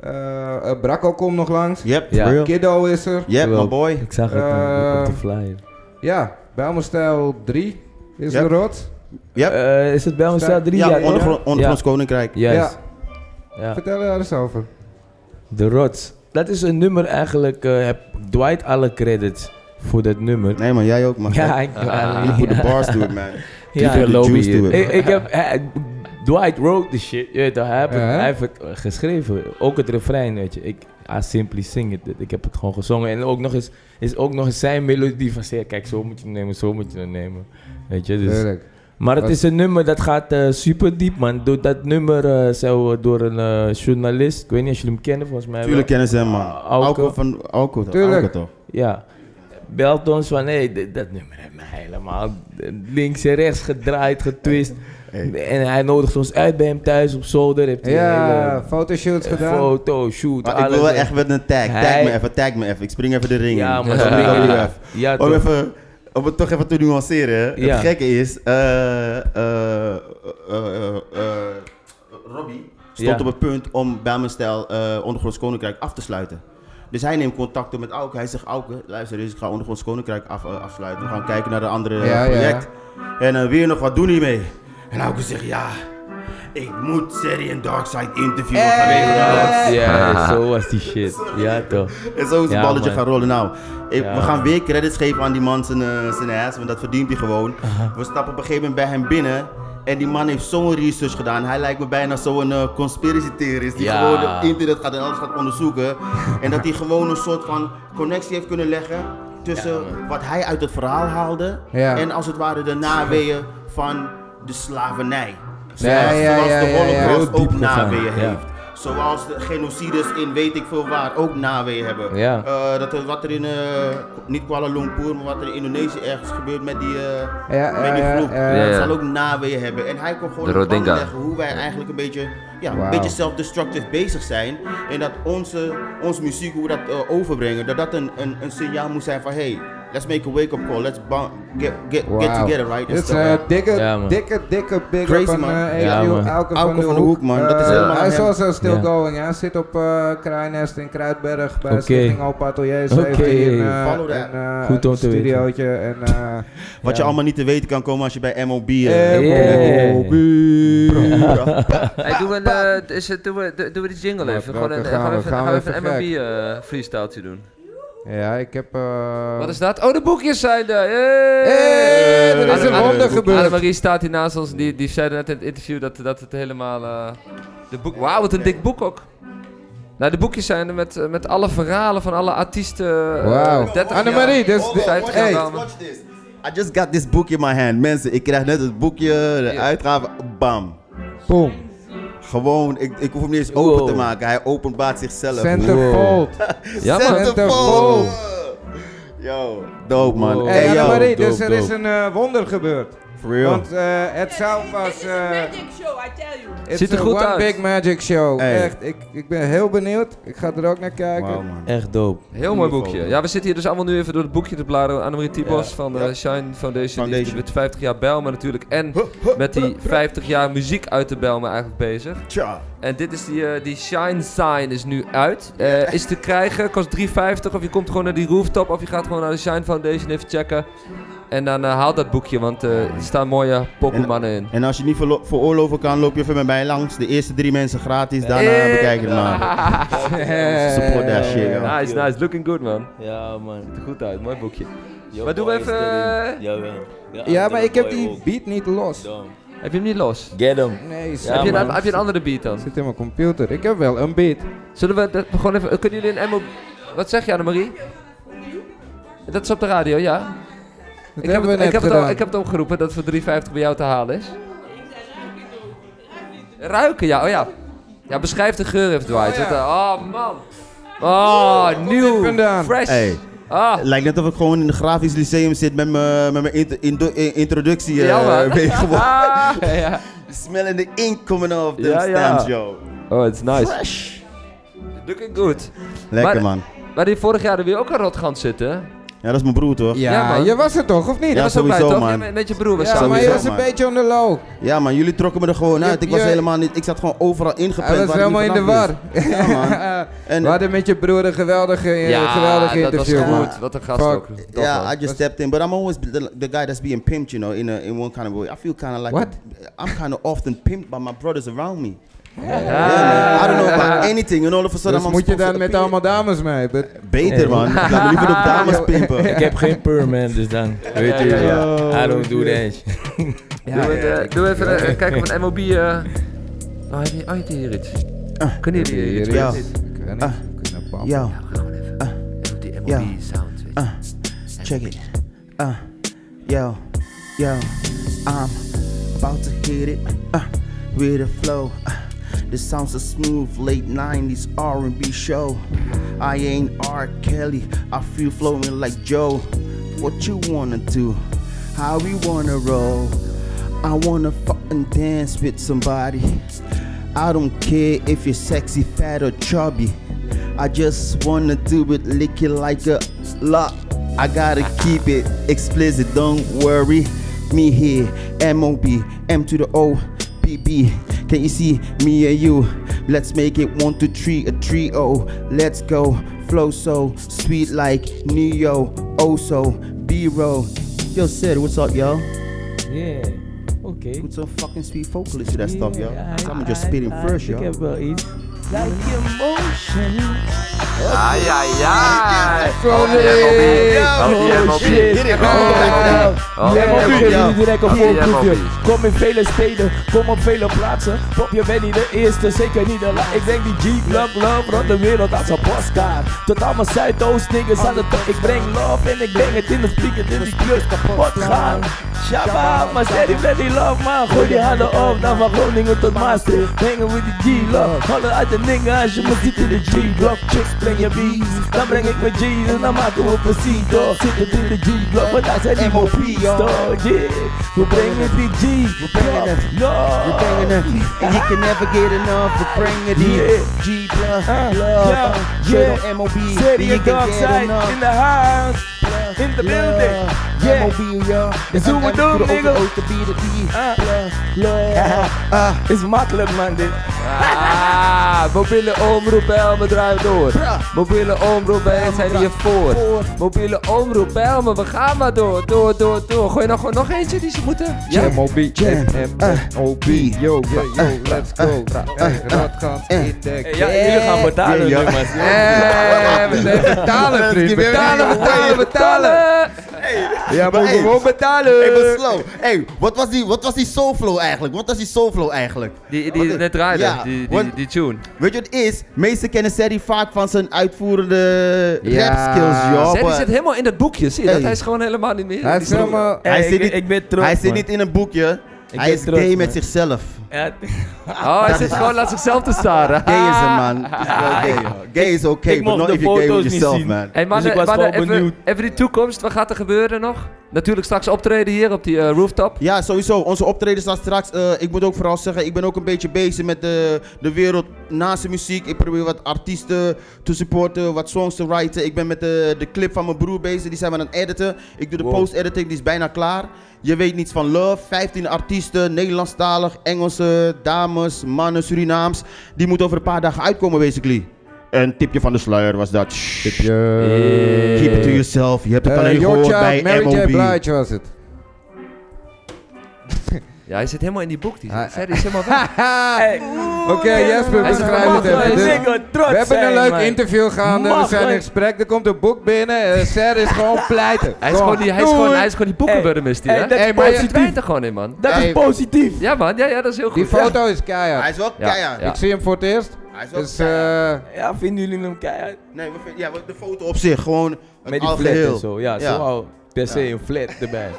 Speaker 3: eh, eh, Brakko komt nog langs.
Speaker 4: Yep,
Speaker 5: Ja.
Speaker 4: for real.
Speaker 3: Kiddo is er.
Speaker 4: Yep, my
Speaker 5: Wel-
Speaker 4: boy.
Speaker 5: Ik zag het man, op de
Speaker 3: Eh,
Speaker 5: flyer.
Speaker 3: Ja, Bijlmerstijl 3 is
Speaker 4: Ja.
Speaker 3: er rot.
Speaker 4: Yep.
Speaker 5: Eh, is het bij ons
Speaker 3: Sta-
Speaker 5: drie
Speaker 4: Ja,
Speaker 5: jaar? toch?
Speaker 4: ondergrond- ondergronds koninkrijk.
Speaker 5: Juist.
Speaker 3: Ja,
Speaker 5: Ja.
Speaker 3: vertel daar eens over.
Speaker 5: De rots. dat is een nummer eigenlijk. eh, heb Dwight alle credits voor dat nummer.
Speaker 4: Nee man, jij ook man.
Speaker 5: *laughs* Ja, ik,
Speaker 6: Ah,
Speaker 4: You put the bars to it man.
Speaker 5: ja.
Speaker 4: Keep the
Speaker 6: Lobby
Speaker 4: juice to
Speaker 6: hier.
Speaker 4: it.
Speaker 5: ik, ik heb, hij- Dwight wrote the shit. Je weet, toch, hij, heeft het,
Speaker 3: Ja.
Speaker 5: hij heeft het eh, geschreven. Ook het refrein, weet je. Ik, I simply sing it. Ik heb het gewoon gezongen. En ook nog eens, is ook nog eens zijn melodie van... "Zie, Kijk, zo moet je hem nemen, zo moet je hem nemen. Weet je, dus...
Speaker 3: Tuurlijk.
Speaker 5: Maar het
Speaker 3: Wat-
Speaker 5: is een nummer dat gaat eh, super diep, man. Door dat nummer eh, zou door een eh, journalist, ik weet niet of jullie hem kennen, volgens mij. wel.
Speaker 4: Tuurlijk kennen ze hem man.
Speaker 5: Alco.
Speaker 4: Alco van Alco toch?
Speaker 3: Tuurlijk.
Speaker 4: Alco toch?
Speaker 5: Ja. Belt ons van, hé, dit- dat nummer heeft me helemaal links en rechts gedraaid, getwist. En hij nodigt ons uit bij hem thuis op zolder. Heeft hij
Speaker 3: Ja,
Speaker 5: een
Speaker 3: fotoshoots
Speaker 5: hele Eh,
Speaker 3: gedaan.
Speaker 5: foto, shoot,
Speaker 4: Maar ik
Speaker 5: alles.
Speaker 4: wil wel echt met een tag. Tag
Speaker 5: Hij-
Speaker 4: me even, tag me even. Ik spring even de ring in.
Speaker 5: Ja, maar
Speaker 4: Van
Speaker 5: spring-
Speaker 4: WWF.
Speaker 5: ja, ja,
Speaker 4: Om,
Speaker 5: toch.
Speaker 4: even, om het toch even te nuanceren. hè.
Speaker 5: Ja.
Speaker 4: Het gekke is, eh, eh, eh, eh, eh, Robbie stond
Speaker 5: Ja.
Speaker 4: op het punt om bij mijn stijl eh, Ondergronds Koninkrijk af te sluiten. Dus hij neemt contact op met Auke. Hij zegt, Auke, luister eens, ik ga Ondergronds Koninkrijk af, eh, afsluiten. We gaan kijken naar een andere eh,
Speaker 3: Ja, ja.
Speaker 4: project. En eh, wil je nog wat doen hiermee? En Auke zegt, ja, ik moet Serie en Darkseid interviewen
Speaker 3: Eh.
Speaker 4: vanwege dat.
Speaker 5: Ja, zo was die shit. Ja, toch.
Speaker 4: En zo is het
Speaker 5: Ja,
Speaker 4: balletje
Speaker 5: man.
Speaker 4: gaan rollen. Nou, ik-
Speaker 5: Ja,
Speaker 4: we gaan
Speaker 5: man.
Speaker 4: weer credits geven aan die man zijn, eh, zijn ass, want dat verdient hij gewoon.
Speaker 5: Uh-huh.
Speaker 4: We stappen op een gegeven moment bij hem binnen. En die man heeft zo'n research gedaan. Hij lijkt me bijna zo'n eh, conspiracy theorist. Die
Speaker 5: Ja.
Speaker 4: gewoon op internet gaat en alles gaat onderzoeken. en dat hij gewoon een soort van connectie heeft kunnen leggen. Tussen wat hij uit het verhaal haalde.
Speaker 3: Ja.
Speaker 4: En als het ware de naweeën van de slavernij. Zoals,
Speaker 3: Ja, ja,
Speaker 4: zoals
Speaker 3: ja,
Speaker 4: de
Speaker 3: ja, ja.
Speaker 4: holocaust
Speaker 5: Heel diep
Speaker 4: ook
Speaker 5: gegaan,
Speaker 4: naweeën
Speaker 5: ja.
Speaker 4: heeft. Zoals de genocides in weet ik veel waar ook naweeën hebben.
Speaker 5: Ja.
Speaker 4: Eh, dat er, wat er in, eh, niet Kuala Lumpur, maar wat er in Indonesië ergens gebeurt met die, eh,
Speaker 3: Ja,
Speaker 4: met die
Speaker 3: ja,
Speaker 4: groep.
Speaker 3: ja,
Speaker 2: ja.
Speaker 4: Dat zal ook naweeën hebben. En hij kon gewoon
Speaker 2: De
Speaker 4: in handen
Speaker 2: Rodinga.
Speaker 4: leggen hoe wij eigenlijk een beetje, ja,
Speaker 3: Wauw.
Speaker 4: een beetje self-destructive bezig zijn. En dat onze, onze muziek, hoe we dat eh, overbrengen, dat dat een, een, een signaal moet zijn van hey, let's make a wake-up call, let's bou- get, get, get
Speaker 3: Wauw.
Speaker 4: together, right?
Speaker 3: Dit is
Speaker 4: En
Speaker 3: eh,
Speaker 4: stuff,
Speaker 3: een
Speaker 4: ja.
Speaker 3: uh, dikke,
Speaker 5: Ja, man.
Speaker 3: dikke, dikke big
Speaker 4: Crazy,
Speaker 3: up aan
Speaker 4: man.
Speaker 3: eh,
Speaker 5: Ja,
Speaker 3: Eliel
Speaker 5: man.
Speaker 3: Auken
Speaker 4: Auken
Speaker 3: van de Hoek.
Speaker 4: man. Dat is
Speaker 3: Eh,
Speaker 4: helemaal
Speaker 3: hij is
Speaker 4: hem.
Speaker 3: sowieso still
Speaker 5: Ja.
Speaker 3: going. hè. Hij zit op eh Kraaiennest in Kruidberg bij
Speaker 5: Oké.
Speaker 3: Stichting Opa Ateliers.
Speaker 5: Oké.
Speaker 3: Heeft hij een, eh,
Speaker 4: Follow that.
Speaker 3: een, eh,
Speaker 5: Goed om te weten.
Speaker 3: studiootje. En, eh,
Speaker 4: Wat je
Speaker 5: Ja.
Speaker 4: allemaal niet te weten kan komen als je bij MOB...
Speaker 3: eh,
Speaker 4: eh,
Speaker 5: Yeah.
Speaker 3: Bobby.
Speaker 2: Hey, doen we een, eh, is het- doen we- doen we die jingle
Speaker 3: Wat,
Speaker 2: even? Gewoon een,
Speaker 3: welke
Speaker 2: gaan,
Speaker 3: gaan
Speaker 2: we
Speaker 3: we?
Speaker 2: even,
Speaker 3: Gaan
Speaker 2: gaan we
Speaker 3: we
Speaker 2: even een M&B
Speaker 3: even
Speaker 2: eh freestyletje doen.
Speaker 3: Ja, ik heb... eh,
Speaker 2: Wat is dat? Oh, de boekjes zijn er! Hey!
Speaker 3: Hey, er is
Speaker 2: Anne-
Speaker 3: een
Speaker 2: Anne-
Speaker 3: wonder gebeurd.
Speaker 2: Annemarie staat hier naast ons. Die, die zei net in het interview dat, dat het helemaal... eh, de boek, Wauw, wat een dik boek ook. Nou, de boekjes zijn er met, eh, met alle verhalen van alle artiesten. eh,
Speaker 3: Wauw.
Speaker 2: 30 jaar.
Speaker 3: Annemarie, dit is...
Speaker 4: Hold on, watch
Speaker 3: hey.
Speaker 4: this, watch this. I just got this book in my hand. Mensen, ik krijg net het boekje, de uitgave, bam.
Speaker 3: Boom.
Speaker 4: Gewoon, ik, ik hoef hem niet eens open
Speaker 5: Wow.
Speaker 4: te maken. Hij openbaart zichzelf.
Speaker 3: Centerfold.
Speaker 2: Ja, man.
Speaker 3: Centerfold.
Speaker 4: Yo, dope man.
Speaker 5: Wow.
Speaker 4: Hey,
Speaker 3: Hey,
Speaker 4: yo.
Speaker 3: Annemarie,
Speaker 5: dope,
Speaker 3: dus er is
Speaker 5: dope.
Speaker 3: een eh, wonder gebeurd.
Speaker 4: For real.
Speaker 3: Want eh, het zou
Speaker 7: This
Speaker 3: pas...
Speaker 7: is
Speaker 3: eh,
Speaker 7: a magic show, I tell you.
Speaker 3: It's
Speaker 2: Ziet er
Speaker 3: a
Speaker 2: goed
Speaker 3: one
Speaker 2: uit.
Speaker 3: big magic show.
Speaker 4: Hey.
Speaker 3: Echt, ik, ik ben heel benieuwd. Ik ga er ook naar kijken.
Speaker 4: Wauw, man.
Speaker 5: Echt dope.
Speaker 2: Heel mooi boekje. Ja, we zitten hier dus allemaal nu even door het boekje te bladeren. Annemarie Tibos
Speaker 5: Ja.
Speaker 2: van de
Speaker 4: Ja.
Speaker 2: Shine Foundation. Die is
Speaker 4: Foundation.
Speaker 2: met 50 jaar Bijlmer natuurlijk. En met die 50 jaar muziek uit de Bijlmer eigenlijk bezig.
Speaker 4: Tja.
Speaker 2: En dit is die, eh, die Shine Sign is nu uit. Eh, is te krijgen, kost 3,50. Of je komt gewoon naar die rooftop. Of je gaat gewoon naar de Shine Foundation even checken. En dan eh, haal dat boekje, want eh, er staan mooie Pokémonnen in.
Speaker 4: En als je niet verlo- veroorloven kan, loop je even met mij langs. De eerste drie mensen gratis, daarna
Speaker 5: Eh.
Speaker 2: Hey.
Speaker 4: bekijk het
Speaker 3: Eh.
Speaker 4: maar. Support that shit, yo.
Speaker 2: *laughs* Nice, nice. Looking good, man.
Speaker 5: Ja, man.
Speaker 2: Goed uit, mooi boekje.
Speaker 5: Yo,
Speaker 2: Maar doen we
Speaker 5: boy is
Speaker 2: even- eh,
Speaker 5: erin. Jawel.
Speaker 3: Ja, maar ik heb
Speaker 5: boy
Speaker 3: die
Speaker 5: ook.
Speaker 3: beat niet los.
Speaker 5: Dom.
Speaker 2: Heb je hem niet los?
Speaker 5: Get him.
Speaker 3: Nee,
Speaker 5: Ja,
Speaker 2: heb, je
Speaker 5: man.
Speaker 2: een, heb je een andere beat dan?
Speaker 3: Zit in mijn computer. Ik heb wel een beat.
Speaker 2: Zullen we dat gewoon even... Kunnen jullie een MO... Wat zeg je, Annemarie? Dat is op de radio, ja.
Speaker 3: Dat
Speaker 2: Ik heb,
Speaker 3: hebben
Speaker 2: het,
Speaker 3: we
Speaker 2: ik,
Speaker 3: net
Speaker 2: heb het
Speaker 3: gedaan.
Speaker 2: al, ik heb het opgeroepen dat voor 3,50 bij jou te halen is. Ruiken, ja. Oh ja. Ja, beschrijf de geur even, Dwight.
Speaker 3: ja.
Speaker 2: Dat, eh, Oh, man. Oh, nieuw.
Speaker 3: dit vandaan?
Speaker 2: Fresh.
Speaker 4: Hey. *laughs*
Speaker 2: Ah.
Speaker 4: Het lijkt net of ik gewoon in een grafisch lyceum zit met mijn met mijn inter- indo- eh, introductie. eh,
Speaker 2: Ja, man.
Speaker 4: weet
Speaker 3: *laughs*
Speaker 4: je gewoon.
Speaker 2: Ah, ja.
Speaker 4: Smelling the ink coming off them
Speaker 2: Ja, ja.
Speaker 4: stamps, yo.
Speaker 2: Oh, it's nice.
Speaker 4: Fresh.
Speaker 2: Looking good.
Speaker 4: Lekker,
Speaker 2: Maar-
Speaker 4: man.
Speaker 2: Maar die vorig jaar er weer ook een rotgans zitten.
Speaker 4: Ja, dat is mijn broer, toch? Ja,
Speaker 3: Ja,
Speaker 2: Ja, man.
Speaker 3: je was er toch, of niet?
Speaker 4: Ja,
Speaker 2: Jij was ook bij,
Speaker 4: sowieso,
Speaker 2: toch? Jij
Speaker 4: man.
Speaker 2: met- Met je broer was
Speaker 3: Ja,
Speaker 2: dat.
Speaker 3: maar je was een
Speaker 4: Sowieso, man.
Speaker 3: beetje onder low.
Speaker 4: man, jullie trokken me er gewoon uit. Ik was
Speaker 3: je-
Speaker 4: helemaal niet... Ik zat gewoon overal ingepland.
Speaker 3: Hij was
Speaker 4: waar ik niet
Speaker 3: helemaal in de
Speaker 4: vanaf
Speaker 3: war.
Speaker 4: wist. Ja,
Speaker 3: *laughs*
Speaker 4: man. En,
Speaker 3: we hadden met je broer een geweldige, eh, geweldige
Speaker 2: Ja, dat was
Speaker 3: interview. man.
Speaker 2: goed. Wat een gast
Speaker 3: Fuck.
Speaker 2: ook. Tof,
Speaker 4: Ja,
Speaker 2: man.
Speaker 4: I just stepped in, but I'm always the, the guy that's being pimped, you know, in a, in one kind of way. I feel kind of like
Speaker 3: What?
Speaker 4: I'm kind of often pimped by my brothers around me. I don't know about anything. And all of a sudden,
Speaker 3: Ah. Dus
Speaker 4: I'm
Speaker 3: moet je dan
Speaker 4: supposed
Speaker 3: met
Speaker 4: to
Speaker 3: allemaal dames mee? But-
Speaker 4: be- Beter, man. Ik laat me
Speaker 3: *laughs*
Speaker 4: liever op dames pimpen.
Speaker 5: Ik heb geen perm, man, dus *laughs* dan. Weet je, I don't do that.
Speaker 2: doe, het, eh, doe even eh, kijken of een MOB. eh Oh, heb je, oh, heb je hier iets? Kunnen jullie hier iets?
Speaker 4: hier
Speaker 2: mee?
Speaker 4: iets?
Speaker 3: Ik weet niet,
Speaker 4: Ah.
Speaker 3: ik kan dat
Speaker 4: Yo,
Speaker 2: Ja, we gaan gewoon even. even op die MOB
Speaker 4: ja.
Speaker 2: sound. weet je.
Speaker 4: uh, check it. Uh, yo, yo, I'm about to hit it. Uh, with a flow. Uh, this sounds a smooth late 90s R&B show. I ain't R. Kelly. I feel flowing like Joe. What you wanna do? How we wanna roll? I wanna fucking dance with somebody. I don't care if you're sexy, fat, or chubby. I just wanna do it, lick it like a lot. I gotta keep it explicit, don't worry. Me here, MOB, M to the O, PB. Can you see me and you? Let's make it one, two, three, a trio. Let's go, flow so sweet like Neo, oh so B-roll. Yo, Sid, what's up, y'all?
Speaker 5: Yeah, oké.
Speaker 4: Put some fucking sweet vocalist to that stuff,
Speaker 5: Yeah,
Speaker 4: y'all.
Speaker 5: I-
Speaker 4: Someone just
Speaker 5: I-
Speaker 4: spitting
Speaker 5: I
Speaker 4: first,
Speaker 5: think
Speaker 4: y'all.
Speaker 5: I will eat. Like emotion.
Speaker 2: Ai, ai, ai.
Speaker 3: Zo,
Speaker 2: Oh, die MOB. Oh, die
Speaker 5: Oh,
Speaker 2: MOB.
Speaker 5: shit.
Speaker 4: Get it,
Speaker 5: Oh,
Speaker 4: man.
Speaker 5: ja.
Speaker 2: Oh, ja.
Speaker 5: Ja, we geven jullie direct een
Speaker 2: Ja,
Speaker 5: voorproefje.
Speaker 2: ja,
Speaker 5: Kom in vele steden, kom op vele plaatsen. Pop, je bent niet de eerste, zeker niet de laatste. Ik denk die Jeep, love, love, rond de wereld als een postkaart. Tot allemaal Zuidoost niggas aan de top. Ik breng love en ik breng het in de vliegend in die club kapot gaan. Shabba, maar steady ready love man. Gooi die handen op, dan van Groningen tot Maastricht. Hangen with die G-love. Alle uit de dingen als je me ziet in de G-block. Chicks, breng je beats. Dan breng ik mijn G's en dan maken we precies door. Zit het in de G-block, want daar zijn die mobies door. Yeah, we brengen die G. We
Speaker 4: brengen het. We're banging
Speaker 5: Love.
Speaker 4: it. And you can never get enough of bringing it.
Speaker 5: Yeah.
Speaker 4: G plus
Speaker 5: Uh,
Speaker 4: love.
Speaker 5: yeah,
Speaker 4: Straight
Speaker 5: yeah.
Speaker 4: on MOB.
Speaker 5: City
Speaker 4: you
Speaker 5: and dark side in the house. In the building. Yeah.
Speaker 4: MOB, y'all.
Speaker 5: That's what we
Speaker 4: And
Speaker 5: do,
Speaker 4: to the O,
Speaker 5: nigga. uh,
Speaker 4: O, to B, to E. *laughs*
Speaker 5: Ah.
Speaker 4: Plus
Speaker 5: Love.
Speaker 4: Ah.
Speaker 5: Is makkelijk man dit.
Speaker 2: Ah, mobiele omroep bij Elmen draait door. Mobiele omroep bij Elmen zijn hier voor. Mobiele omroep bij Elmen, we gaan maar door, door, door, door. Gooi nou gewoon nog eentje die ze moeten. Ja.
Speaker 3: MOB,
Speaker 4: Jam.
Speaker 3: MOB, yo, yo, *laughs* yo, let's go. Radkant in de
Speaker 5: Ja, jullie gaan betalen
Speaker 4: Ja, ja.
Speaker 5: nu man.
Speaker 3: Eh, we zijn
Speaker 4: *laughs*
Speaker 3: betalen, vriend.
Speaker 2: Betalen, betalen, betalen.
Speaker 3: Ja,
Speaker 4: maar
Speaker 3: maar
Speaker 4: hey.
Speaker 3: gewoon betalen.
Speaker 4: Hey, but slow. Hey, wat was die, wat was die soulflow eigenlijk? Wat was die soulflow eigenlijk?
Speaker 2: Die, die
Speaker 4: Wat-
Speaker 2: net draaide,
Speaker 4: Ja,
Speaker 2: die, die, die,
Speaker 4: want-
Speaker 2: tune.
Speaker 4: Weet je wat het is? Meesten kennen Seri vaak van zijn uitvoerende
Speaker 3: Ja.
Speaker 4: rap skills, joh.
Speaker 2: Zeddy
Speaker 4: but-
Speaker 2: zit helemaal in dat boekje, zie je dat?
Speaker 4: eh, Hey.
Speaker 2: Hij is gewoon helemaal niet meer.
Speaker 3: Hij is helemaal...
Speaker 5: Hey,
Speaker 4: Hij
Speaker 5: ik-
Speaker 4: zit niet-
Speaker 5: Ik ben trots
Speaker 4: Hij zit
Speaker 5: man.
Speaker 4: niet in een boekje.
Speaker 5: Ik
Speaker 4: Hij
Speaker 5: ben
Speaker 4: is
Speaker 5: trots,
Speaker 4: gay met
Speaker 5: man.
Speaker 4: zichzelf.
Speaker 5: Ja,
Speaker 2: Oh, hij zit gewoon aan zichzelf te staren.
Speaker 4: Gay is een man. Is wel gay. Gay is okay,
Speaker 5: Ah. ik
Speaker 4: but
Speaker 5: mocht
Speaker 4: not
Speaker 5: de
Speaker 4: if you're gay
Speaker 5: foto's
Speaker 4: with
Speaker 5: niet
Speaker 4: yourself,
Speaker 5: zien.
Speaker 4: man.
Speaker 2: Hey,
Speaker 5: Dus ik
Speaker 2: mannen,
Speaker 5: was
Speaker 2: mannen,
Speaker 5: gewoon
Speaker 2: even,
Speaker 5: benieuwd.
Speaker 2: even die toekomst, wat gaat er gebeuren nog? Natuurlijk straks optreden hier op die eh, rooftop.
Speaker 4: Ja, sowieso. Onze optreden staat straks. Eh, ik moet ook vooral zeggen, ik ben ook een beetje bezig met de, de wereld naast de muziek. Ik probeer wat artiesten te supporten, wat songs te writen. Ik ben met eh, de, de clip van mijn broer bezig, die zijn we aan het editen. Ik doe de post-editing, die is bijna klaar. Je weet niets van Love, 15 artiesten, Nederlandstalig, Engelse, dames, mannen, Surinaams. Die moet over een paar dagen uitkomen, basically. Een tipje van de sluier was dat. Shh. Keep it to yourself. Je hebt het alleen
Speaker 3: Eh,
Speaker 4: gehoord
Speaker 3: Your Child,
Speaker 4: bij
Speaker 3: Mary J.
Speaker 4: M.O.B.
Speaker 3: Blige was het.
Speaker 2: Ja, hij zit helemaal in die boek. Die
Speaker 3: Hij-
Speaker 2: Ferry is helemaal weg.
Speaker 5: Hey,
Speaker 3: *laughs* Oké, Jesper,
Speaker 2: Hij
Speaker 3: we
Speaker 2: is
Speaker 3: schrijven
Speaker 2: gemakkelijk,
Speaker 3: het even.
Speaker 2: hij is
Speaker 3: Dit-
Speaker 5: nigga, trots
Speaker 3: We hebben een
Speaker 5: zijn,
Speaker 3: leuk
Speaker 5: man.
Speaker 3: interview gaande, we
Speaker 5: Mag,
Speaker 3: zijn in
Speaker 5: man.
Speaker 3: gesprek, er komt een boek binnen, eh, Ser is gewoon pleiten.
Speaker 2: Hij is gewoon die, hij is gewoon, hij is gewoon die boekenburger is die,
Speaker 5: Hey,
Speaker 2: hè?
Speaker 5: dat is
Speaker 2: Hey, maar je
Speaker 5: positief.
Speaker 2: verdwijnt er gewoon in, man.
Speaker 5: Dat
Speaker 4: Hey.
Speaker 5: is positief.
Speaker 2: Ja, man. Ja, ja, dat is heel goed.
Speaker 3: Die
Speaker 2: Ja.
Speaker 3: foto is
Speaker 4: Hij
Speaker 3: keihard.
Speaker 4: is wel
Speaker 2: Ja,
Speaker 4: keihard.
Speaker 2: ja.
Speaker 3: Ik zie hem voor het eerst.
Speaker 4: Hij is wel
Speaker 3: Dus,
Speaker 4: keihard.
Speaker 3: eh
Speaker 5: Ja, vinden jullie hem keihard?
Speaker 4: Nee, we vind- ja, we- de foto op zich, gewoon
Speaker 5: Met
Speaker 4: het
Speaker 5: die
Speaker 4: al
Speaker 5: flat
Speaker 4: geheel.
Speaker 5: en zo. Ja,
Speaker 4: Ja.
Speaker 5: zo al per se een flat erbij.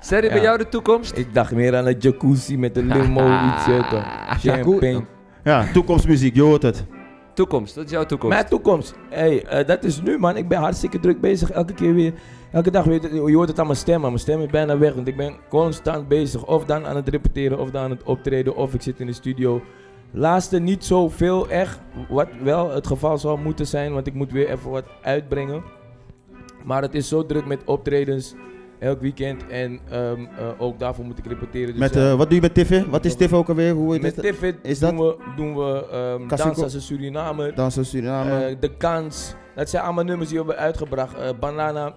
Speaker 2: Ferry, bij
Speaker 5: Ja.
Speaker 2: jou de toekomst? Ah.
Speaker 5: Ik dacht meer aan een jacuzzi
Speaker 4: *laughs*
Speaker 5: met een limo, iets uit. Champagne.
Speaker 4: Ja, toekomstmuziek, je hoort het.
Speaker 2: Toekomst, dat is jouw toekomst.
Speaker 5: Mijn toekomst. Hey, eh, dat is nu man. Ik ben hartstikke druk bezig. Elke keer weer. Elke dag weer. Je hoort het aan mijn stem. Maar mijn stem is bijna weg. Want ik ben constant bezig. Of dan aan het repeteren. Of dan aan het optreden. Of ik zit in de studio. Laatste niet zoveel echt. Wat wel het geval zou moeten zijn. Want ik moet weer even wat uitbrengen. Maar het is zo druk met optredens. Elk weekend. En ehm, eh, ook daarvoor moet ik repeteren. Dus
Speaker 4: Met,
Speaker 5: ja,
Speaker 4: eh, wat doe je met Tiffy? Wat is Tiffy ook alweer? Hoe heet
Speaker 5: met
Speaker 4: het?
Speaker 5: Tiffit
Speaker 4: is
Speaker 5: doen we, doen we ehm,
Speaker 4: Casico-
Speaker 5: Dans als een Surinamer.
Speaker 4: Dansen Suriname.
Speaker 5: Eh, de Kans. Dat zijn allemaal nummers die we hebben uitgebracht. Eh, Banana.
Speaker 4: doe
Speaker 5: Die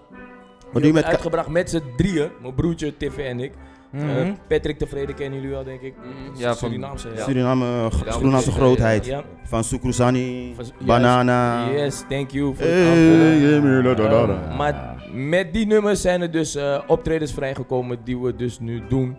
Speaker 4: je
Speaker 5: hebben
Speaker 4: met Ka-
Speaker 5: uitgebracht met z'n drieën. Mijn broertje, Tiffy en ik.
Speaker 3: Mhm.
Speaker 5: Eh, Patrick Tevreden kennen jullie wel, denk ik.
Speaker 2: Mhm.
Speaker 5: Surinaamse,
Speaker 2: Ja,
Speaker 5: Ja,
Speaker 2: van-
Speaker 5: Surinaamse.
Speaker 2: ja.
Speaker 4: Suriname, eh,
Speaker 2: Ja,
Speaker 4: Surinaamse
Speaker 2: ja,
Speaker 4: grootheid.
Speaker 5: Ja.
Speaker 4: Van Sukrusani,
Speaker 5: Van- juist.
Speaker 4: Banana.
Speaker 5: Yes, thank you voor
Speaker 4: Hey,
Speaker 5: het aanvullen.
Speaker 4: yeah, me, la, da, da, da.
Speaker 5: Eh, maar met die nummers zijn er dus eh, optredens vrijgekomen die we dus nu doen.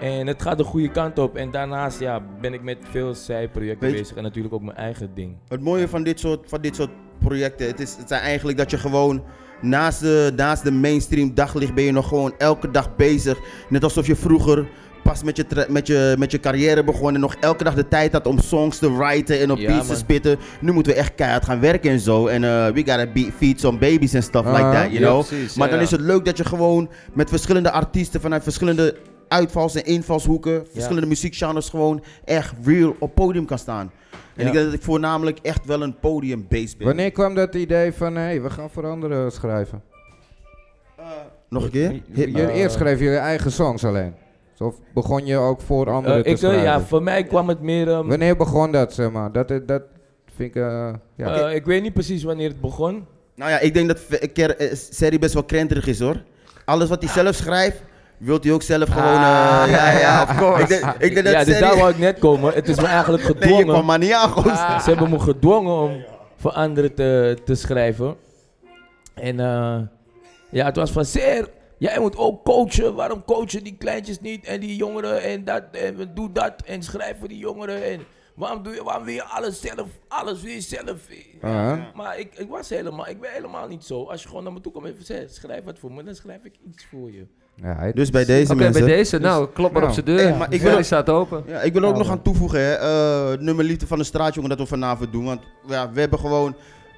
Speaker 5: En het gaat de goede kant op. En daarnaast ja, ben ik met veel zijprojecten
Speaker 4: Weet je-
Speaker 5: bezig. En natuurlijk ook mijn eigen ding.
Speaker 4: Het mooie van dit soort, van dit soort projecten, het, is, het zijn eigenlijk dat je gewoon naast de, naast de mainstream daglicht ben je nog gewoon elke dag bezig. Net alsof je vroeger pas met je, tra- met je, met je carrière begon en nog elke dag de tijd had om songs te writen en op
Speaker 5: Ja,
Speaker 4: beats
Speaker 5: man.
Speaker 4: te spitten. Nu moeten we echt keihard gaan werken en zo. En eh, we gotta be- feed some babies and stuff like
Speaker 3: Ah,
Speaker 4: that, you
Speaker 2: ja,
Speaker 4: know.
Speaker 2: precies,
Speaker 4: maar
Speaker 2: ja,
Speaker 4: dan
Speaker 2: ja.
Speaker 4: is het leuk dat je gewoon met verschillende artiesten vanuit verschillende uitvals- en invalshoeken, verschillende muziekgenres gewoon echt real op podium kan staan. En
Speaker 5: Ja.
Speaker 4: ik denk dat ik voornamelijk echt wel een podium-based ben.
Speaker 3: Wanneer kwam dat idee van, hé, hey, we gaan voor anderen schrijven?
Speaker 4: Nog een keer?
Speaker 3: Je, je-
Speaker 5: Eh.
Speaker 3: eerst schreef je je eigen songs alleen. Of begon je ook voor
Speaker 5: Eh,
Speaker 3: anderen te
Speaker 5: ik, eh,
Speaker 3: schrijven?
Speaker 5: ja, voor mij kwam het meer... ehm,
Speaker 3: Wanneer begon dat, zeg maar? Dat, eh, dat vind ik, eh, ja.
Speaker 5: eh, ik weet niet precies wanneer het begon.
Speaker 4: Nou ja, ik denk dat Ve- Ker- eh, Seri best wel krenterig is hoor. Alles wat hij zelf schrijft, wilt hij ook zelf gewoon... eh, ja, ja, of course. Ik denk, ik denk
Speaker 5: ja,
Speaker 4: dat
Speaker 5: dus
Speaker 4: Seri...
Speaker 5: daar wou ik net komen. Het is me
Speaker 4: *laughs*
Speaker 5: eigenlijk
Speaker 4: nee, je
Speaker 5: gedwongen. Ah.
Speaker 4: kwam maar niet aan, goos.
Speaker 5: Ze hebben me gedwongen om voor anderen te, te schrijven. En eh, ja, het was van Ser, jij moet ook coachen. Waarom coachen die kleintjes niet en die jongeren en dat en doe dat en schrijf voor die jongeren. En waarom, doe je, waarom wil je alles zelf? Alles wil je zelf.
Speaker 3: Ah.
Speaker 5: Maar ik, ik was helemaal, ik ben helemaal niet zo. Als je gewoon naar me toe komt en zegt, schrijf wat voor me, dan schrijf ik iets voor je.
Speaker 3: Ja, hij-
Speaker 4: Dus bij deze
Speaker 2: Oké,
Speaker 4: mensen...
Speaker 2: bij deze. Nou, klop maar
Speaker 3: nou.
Speaker 2: op zijn deur.
Speaker 4: Hey, maar ik wil-
Speaker 2: Ferry staat open.
Speaker 4: Ja, ik wil er ook nog aan toevoegen, hè. eh, nummer liefde van de straatjongen dat we vanavond doen. Want ja, we hebben gewoon...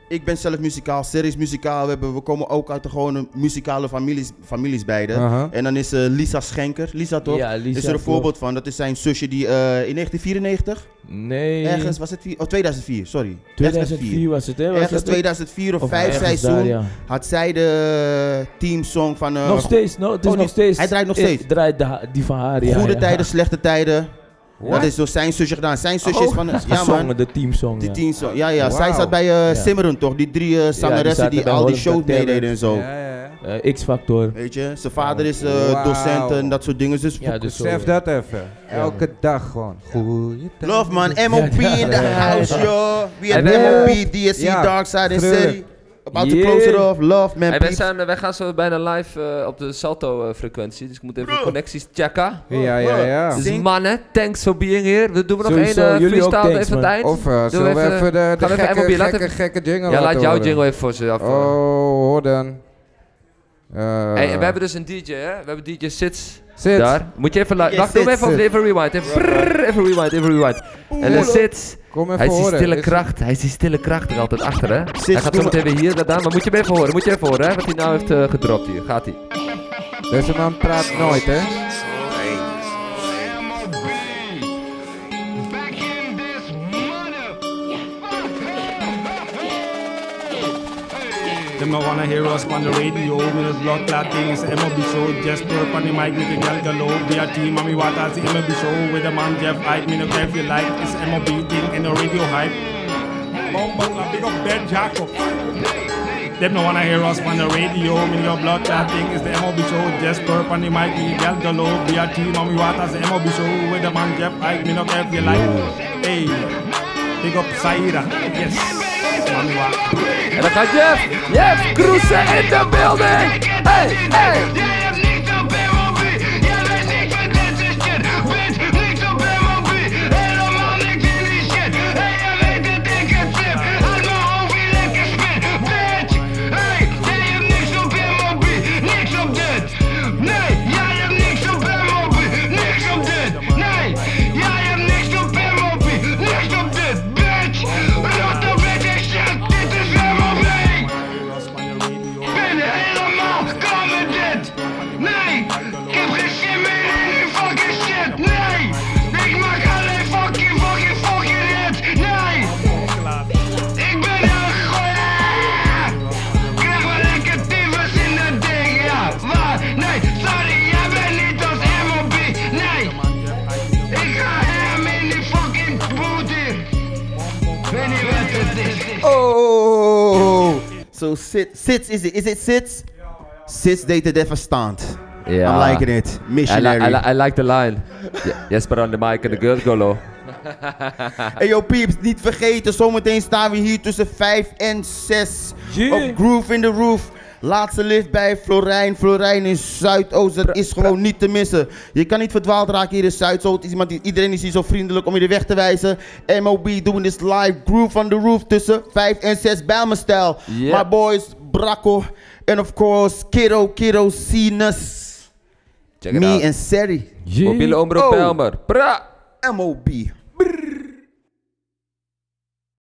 Speaker 4: Ik ben zelf muzikaal, Seri is muzikaal. We, hebben, we komen ook uit de gewone muzikale families, families beide.
Speaker 3: Aha.
Speaker 4: En dan is eh, Lisa Schenker, Lisa toch?
Speaker 5: Ja, Lisa,
Speaker 4: is er een
Speaker 5: klopt.
Speaker 4: voorbeeld van. Dat is zijn zusje die eh, in 1994...
Speaker 5: Nee,
Speaker 4: Ergens was het... vier- Oh, 2004, sorry.
Speaker 5: 2004 was het hè? Was
Speaker 4: Ergens
Speaker 5: dat het?
Speaker 4: 2004 of
Speaker 5: Of
Speaker 4: 5
Speaker 5: ergens
Speaker 4: seizoen
Speaker 5: daar, ja.
Speaker 4: had zij de teamsong van... eh,
Speaker 5: Nog steeds, no, het is
Speaker 4: oh,
Speaker 5: nog
Speaker 4: die-
Speaker 5: steeds.
Speaker 4: hij draait nog
Speaker 5: eh,
Speaker 4: steeds.
Speaker 5: Draait de ha- die van haar, ja.
Speaker 4: Goede
Speaker 5: ja. *laughs*
Speaker 4: tijden, slechte tijden. Dat is door zijn zusje gedaan. Zijn zusje is
Speaker 5: Oh. *laughs*
Speaker 4: van... Ja,
Speaker 5: Gezongen,
Speaker 4: man.
Speaker 5: de teamsong.
Speaker 4: Die
Speaker 5: ja.
Speaker 4: teamsong. Ja, ja. Zij
Speaker 3: Wauw.
Speaker 4: zat bij eh
Speaker 5: Ja.
Speaker 4: Simmeren, toch? Die drie eh, zangeressen
Speaker 5: zaten
Speaker 4: die,
Speaker 5: bij
Speaker 4: al die
Speaker 5: Holland Got
Speaker 4: shows
Speaker 5: Talent.
Speaker 4: meededen en zo.
Speaker 3: Ja, ja, ja.
Speaker 5: Eh, X-Factor.
Speaker 4: Weet je? Zijn vader is eh,
Speaker 3: Wauw.
Speaker 4: docent en dat soort dingen. Dus
Speaker 5: Ja, dus zo,
Speaker 3: Besef
Speaker 5: ja.
Speaker 3: dat even. Elke dag gewoon. Goeie dag.
Speaker 4: Love man, MOP in the house, yo. We have
Speaker 2: wij-
Speaker 4: MOP, DSC,
Speaker 3: Ja,
Speaker 4: E, Dark Side and
Speaker 3: tuurlijk.
Speaker 4: City. About to
Speaker 5: Yeah.
Speaker 4: close it off. Love man,
Speaker 2: Hey, wij,
Speaker 4: peeps.
Speaker 2: zijn, eh, wij gaan zo bijna live eh, op de Salto-frequentie. dus ik moet even de connecties checken.
Speaker 3: Ja, ja, ja.
Speaker 2: Dus mannen, thanks voor being here. We doen we nog
Speaker 5: Sowieso,
Speaker 2: één eh,
Speaker 5: jullie ook
Speaker 2: freestyle
Speaker 5: thanks,
Speaker 2: even aan het
Speaker 5: man.
Speaker 2: eind.
Speaker 3: Of eh, zullen we
Speaker 2: even-
Speaker 3: even, de, de
Speaker 2: gaan we even
Speaker 3: gekke,
Speaker 2: MLB, laat
Speaker 3: gekke,
Speaker 2: even-
Speaker 3: gekke jingle
Speaker 2: ja, laat
Speaker 3: laten
Speaker 2: jouw
Speaker 3: horen?
Speaker 2: jingle even voor ze af.
Speaker 3: Oh, hoor dan. Eh,
Speaker 2: Hey, en we hebben dus een DJ, hè? We hebben DJ Sits
Speaker 3: Zit.
Speaker 2: daar. Moet je even
Speaker 4: DJ
Speaker 2: luisteren. Wacht, doe hem
Speaker 4: Sits.
Speaker 2: even, op- even rewind. Even, prrrr, even rewind, even rewind. En dan Sits,
Speaker 3: Kom even
Speaker 2: hij is die
Speaker 3: horen.
Speaker 2: stille
Speaker 3: Is-
Speaker 2: kracht. Hij is die stille kracht er altijd achter, hè? hij gaat zo
Speaker 4: doe
Speaker 2: meteen weer hier, dat daar. Maar moet je hem even horen, moet je even horen, hè? Wat hij nou heeft eh, gedropt hier. Gaat hij.
Speaker 3: Deze man praat nooit, hè?
Speaker 6: Them no wanna hear us on the radio With us blood clot things, MLB show Just throw up on the mic, make a gal go low Be a team, mommy waters, the MLB show With a man Jeff Hyde, me no care if you like It's MLB thing and the radio hype Bumble, a big up Ben Jacob Them no wanna hear us on the radio Me your blood clot thing, it's the MLB show Just throw up on the mic, me gal go low Be a team, mommy waters, the MLB show With a man Jeff Hyde, me no care if you like Hey, big up Saira, yes Mommy waters
Speaker 2: En dan gaat Jeff! Jeff Kroesen in de building! Hey, hey!
Speaker 6: Hey!
Speaker 7: Hey! ben helemaal dit. Nee, ik heb geen zin meer in die fucking shit. Nee, ik maak alleen fucking, fucking, fucking hit. Nee, ik ben een goeie. Krijg wel lekker tyfus in dat ding, ja. Waar? Nee, sorry, jij bent niet als M.O.B. Nee, ik ga hem in die fucking booty. Weet niet wat het is.
Speaker 4: Oh! So sit, sits is it? Is it sits? Sits deed de devastaant.
Speaker 2: Ja.
Speaker 4: I'm liking it.
Speaker 2: I, li- I,
Speaker 4: Missionary.
Speaker 2: li- I like the line. Ye- Jesper on the mic and the girl go low.
Speaker 4: Hey yo peeps, niet vergeten, zometeen staan we hier tussen 5 en 6
Speaker 5: Yeah.
Speaker 4: op Groove in the Roof. Laatste lift bij Florijn. Florijn in Zuidoost, dat is gewoon niet te missen. Je kan niet verdwaald raken hier in Zuidoost. Is Iemand die, iedereen is hier zo vriendelijk om je de weg te wijzen. MOB doing this live Groove on the Roof tussen 5 en 6 Bijlmerstijl.
Speaker 2: Yeah.
Speaker 4: My boys, Bracco en of course Kiddo Kiddo Sinus.
Speaker 2: Check it
Speaker 4: Me
Speaker 2: out.
Speaker 4: en Seri.
Speaker 5: Yeah.
Speaker 2: Mobiele omroep
Speaker 4: Oh.
Speaker 2: Belmer. Pra.
Speaker 4: MOB.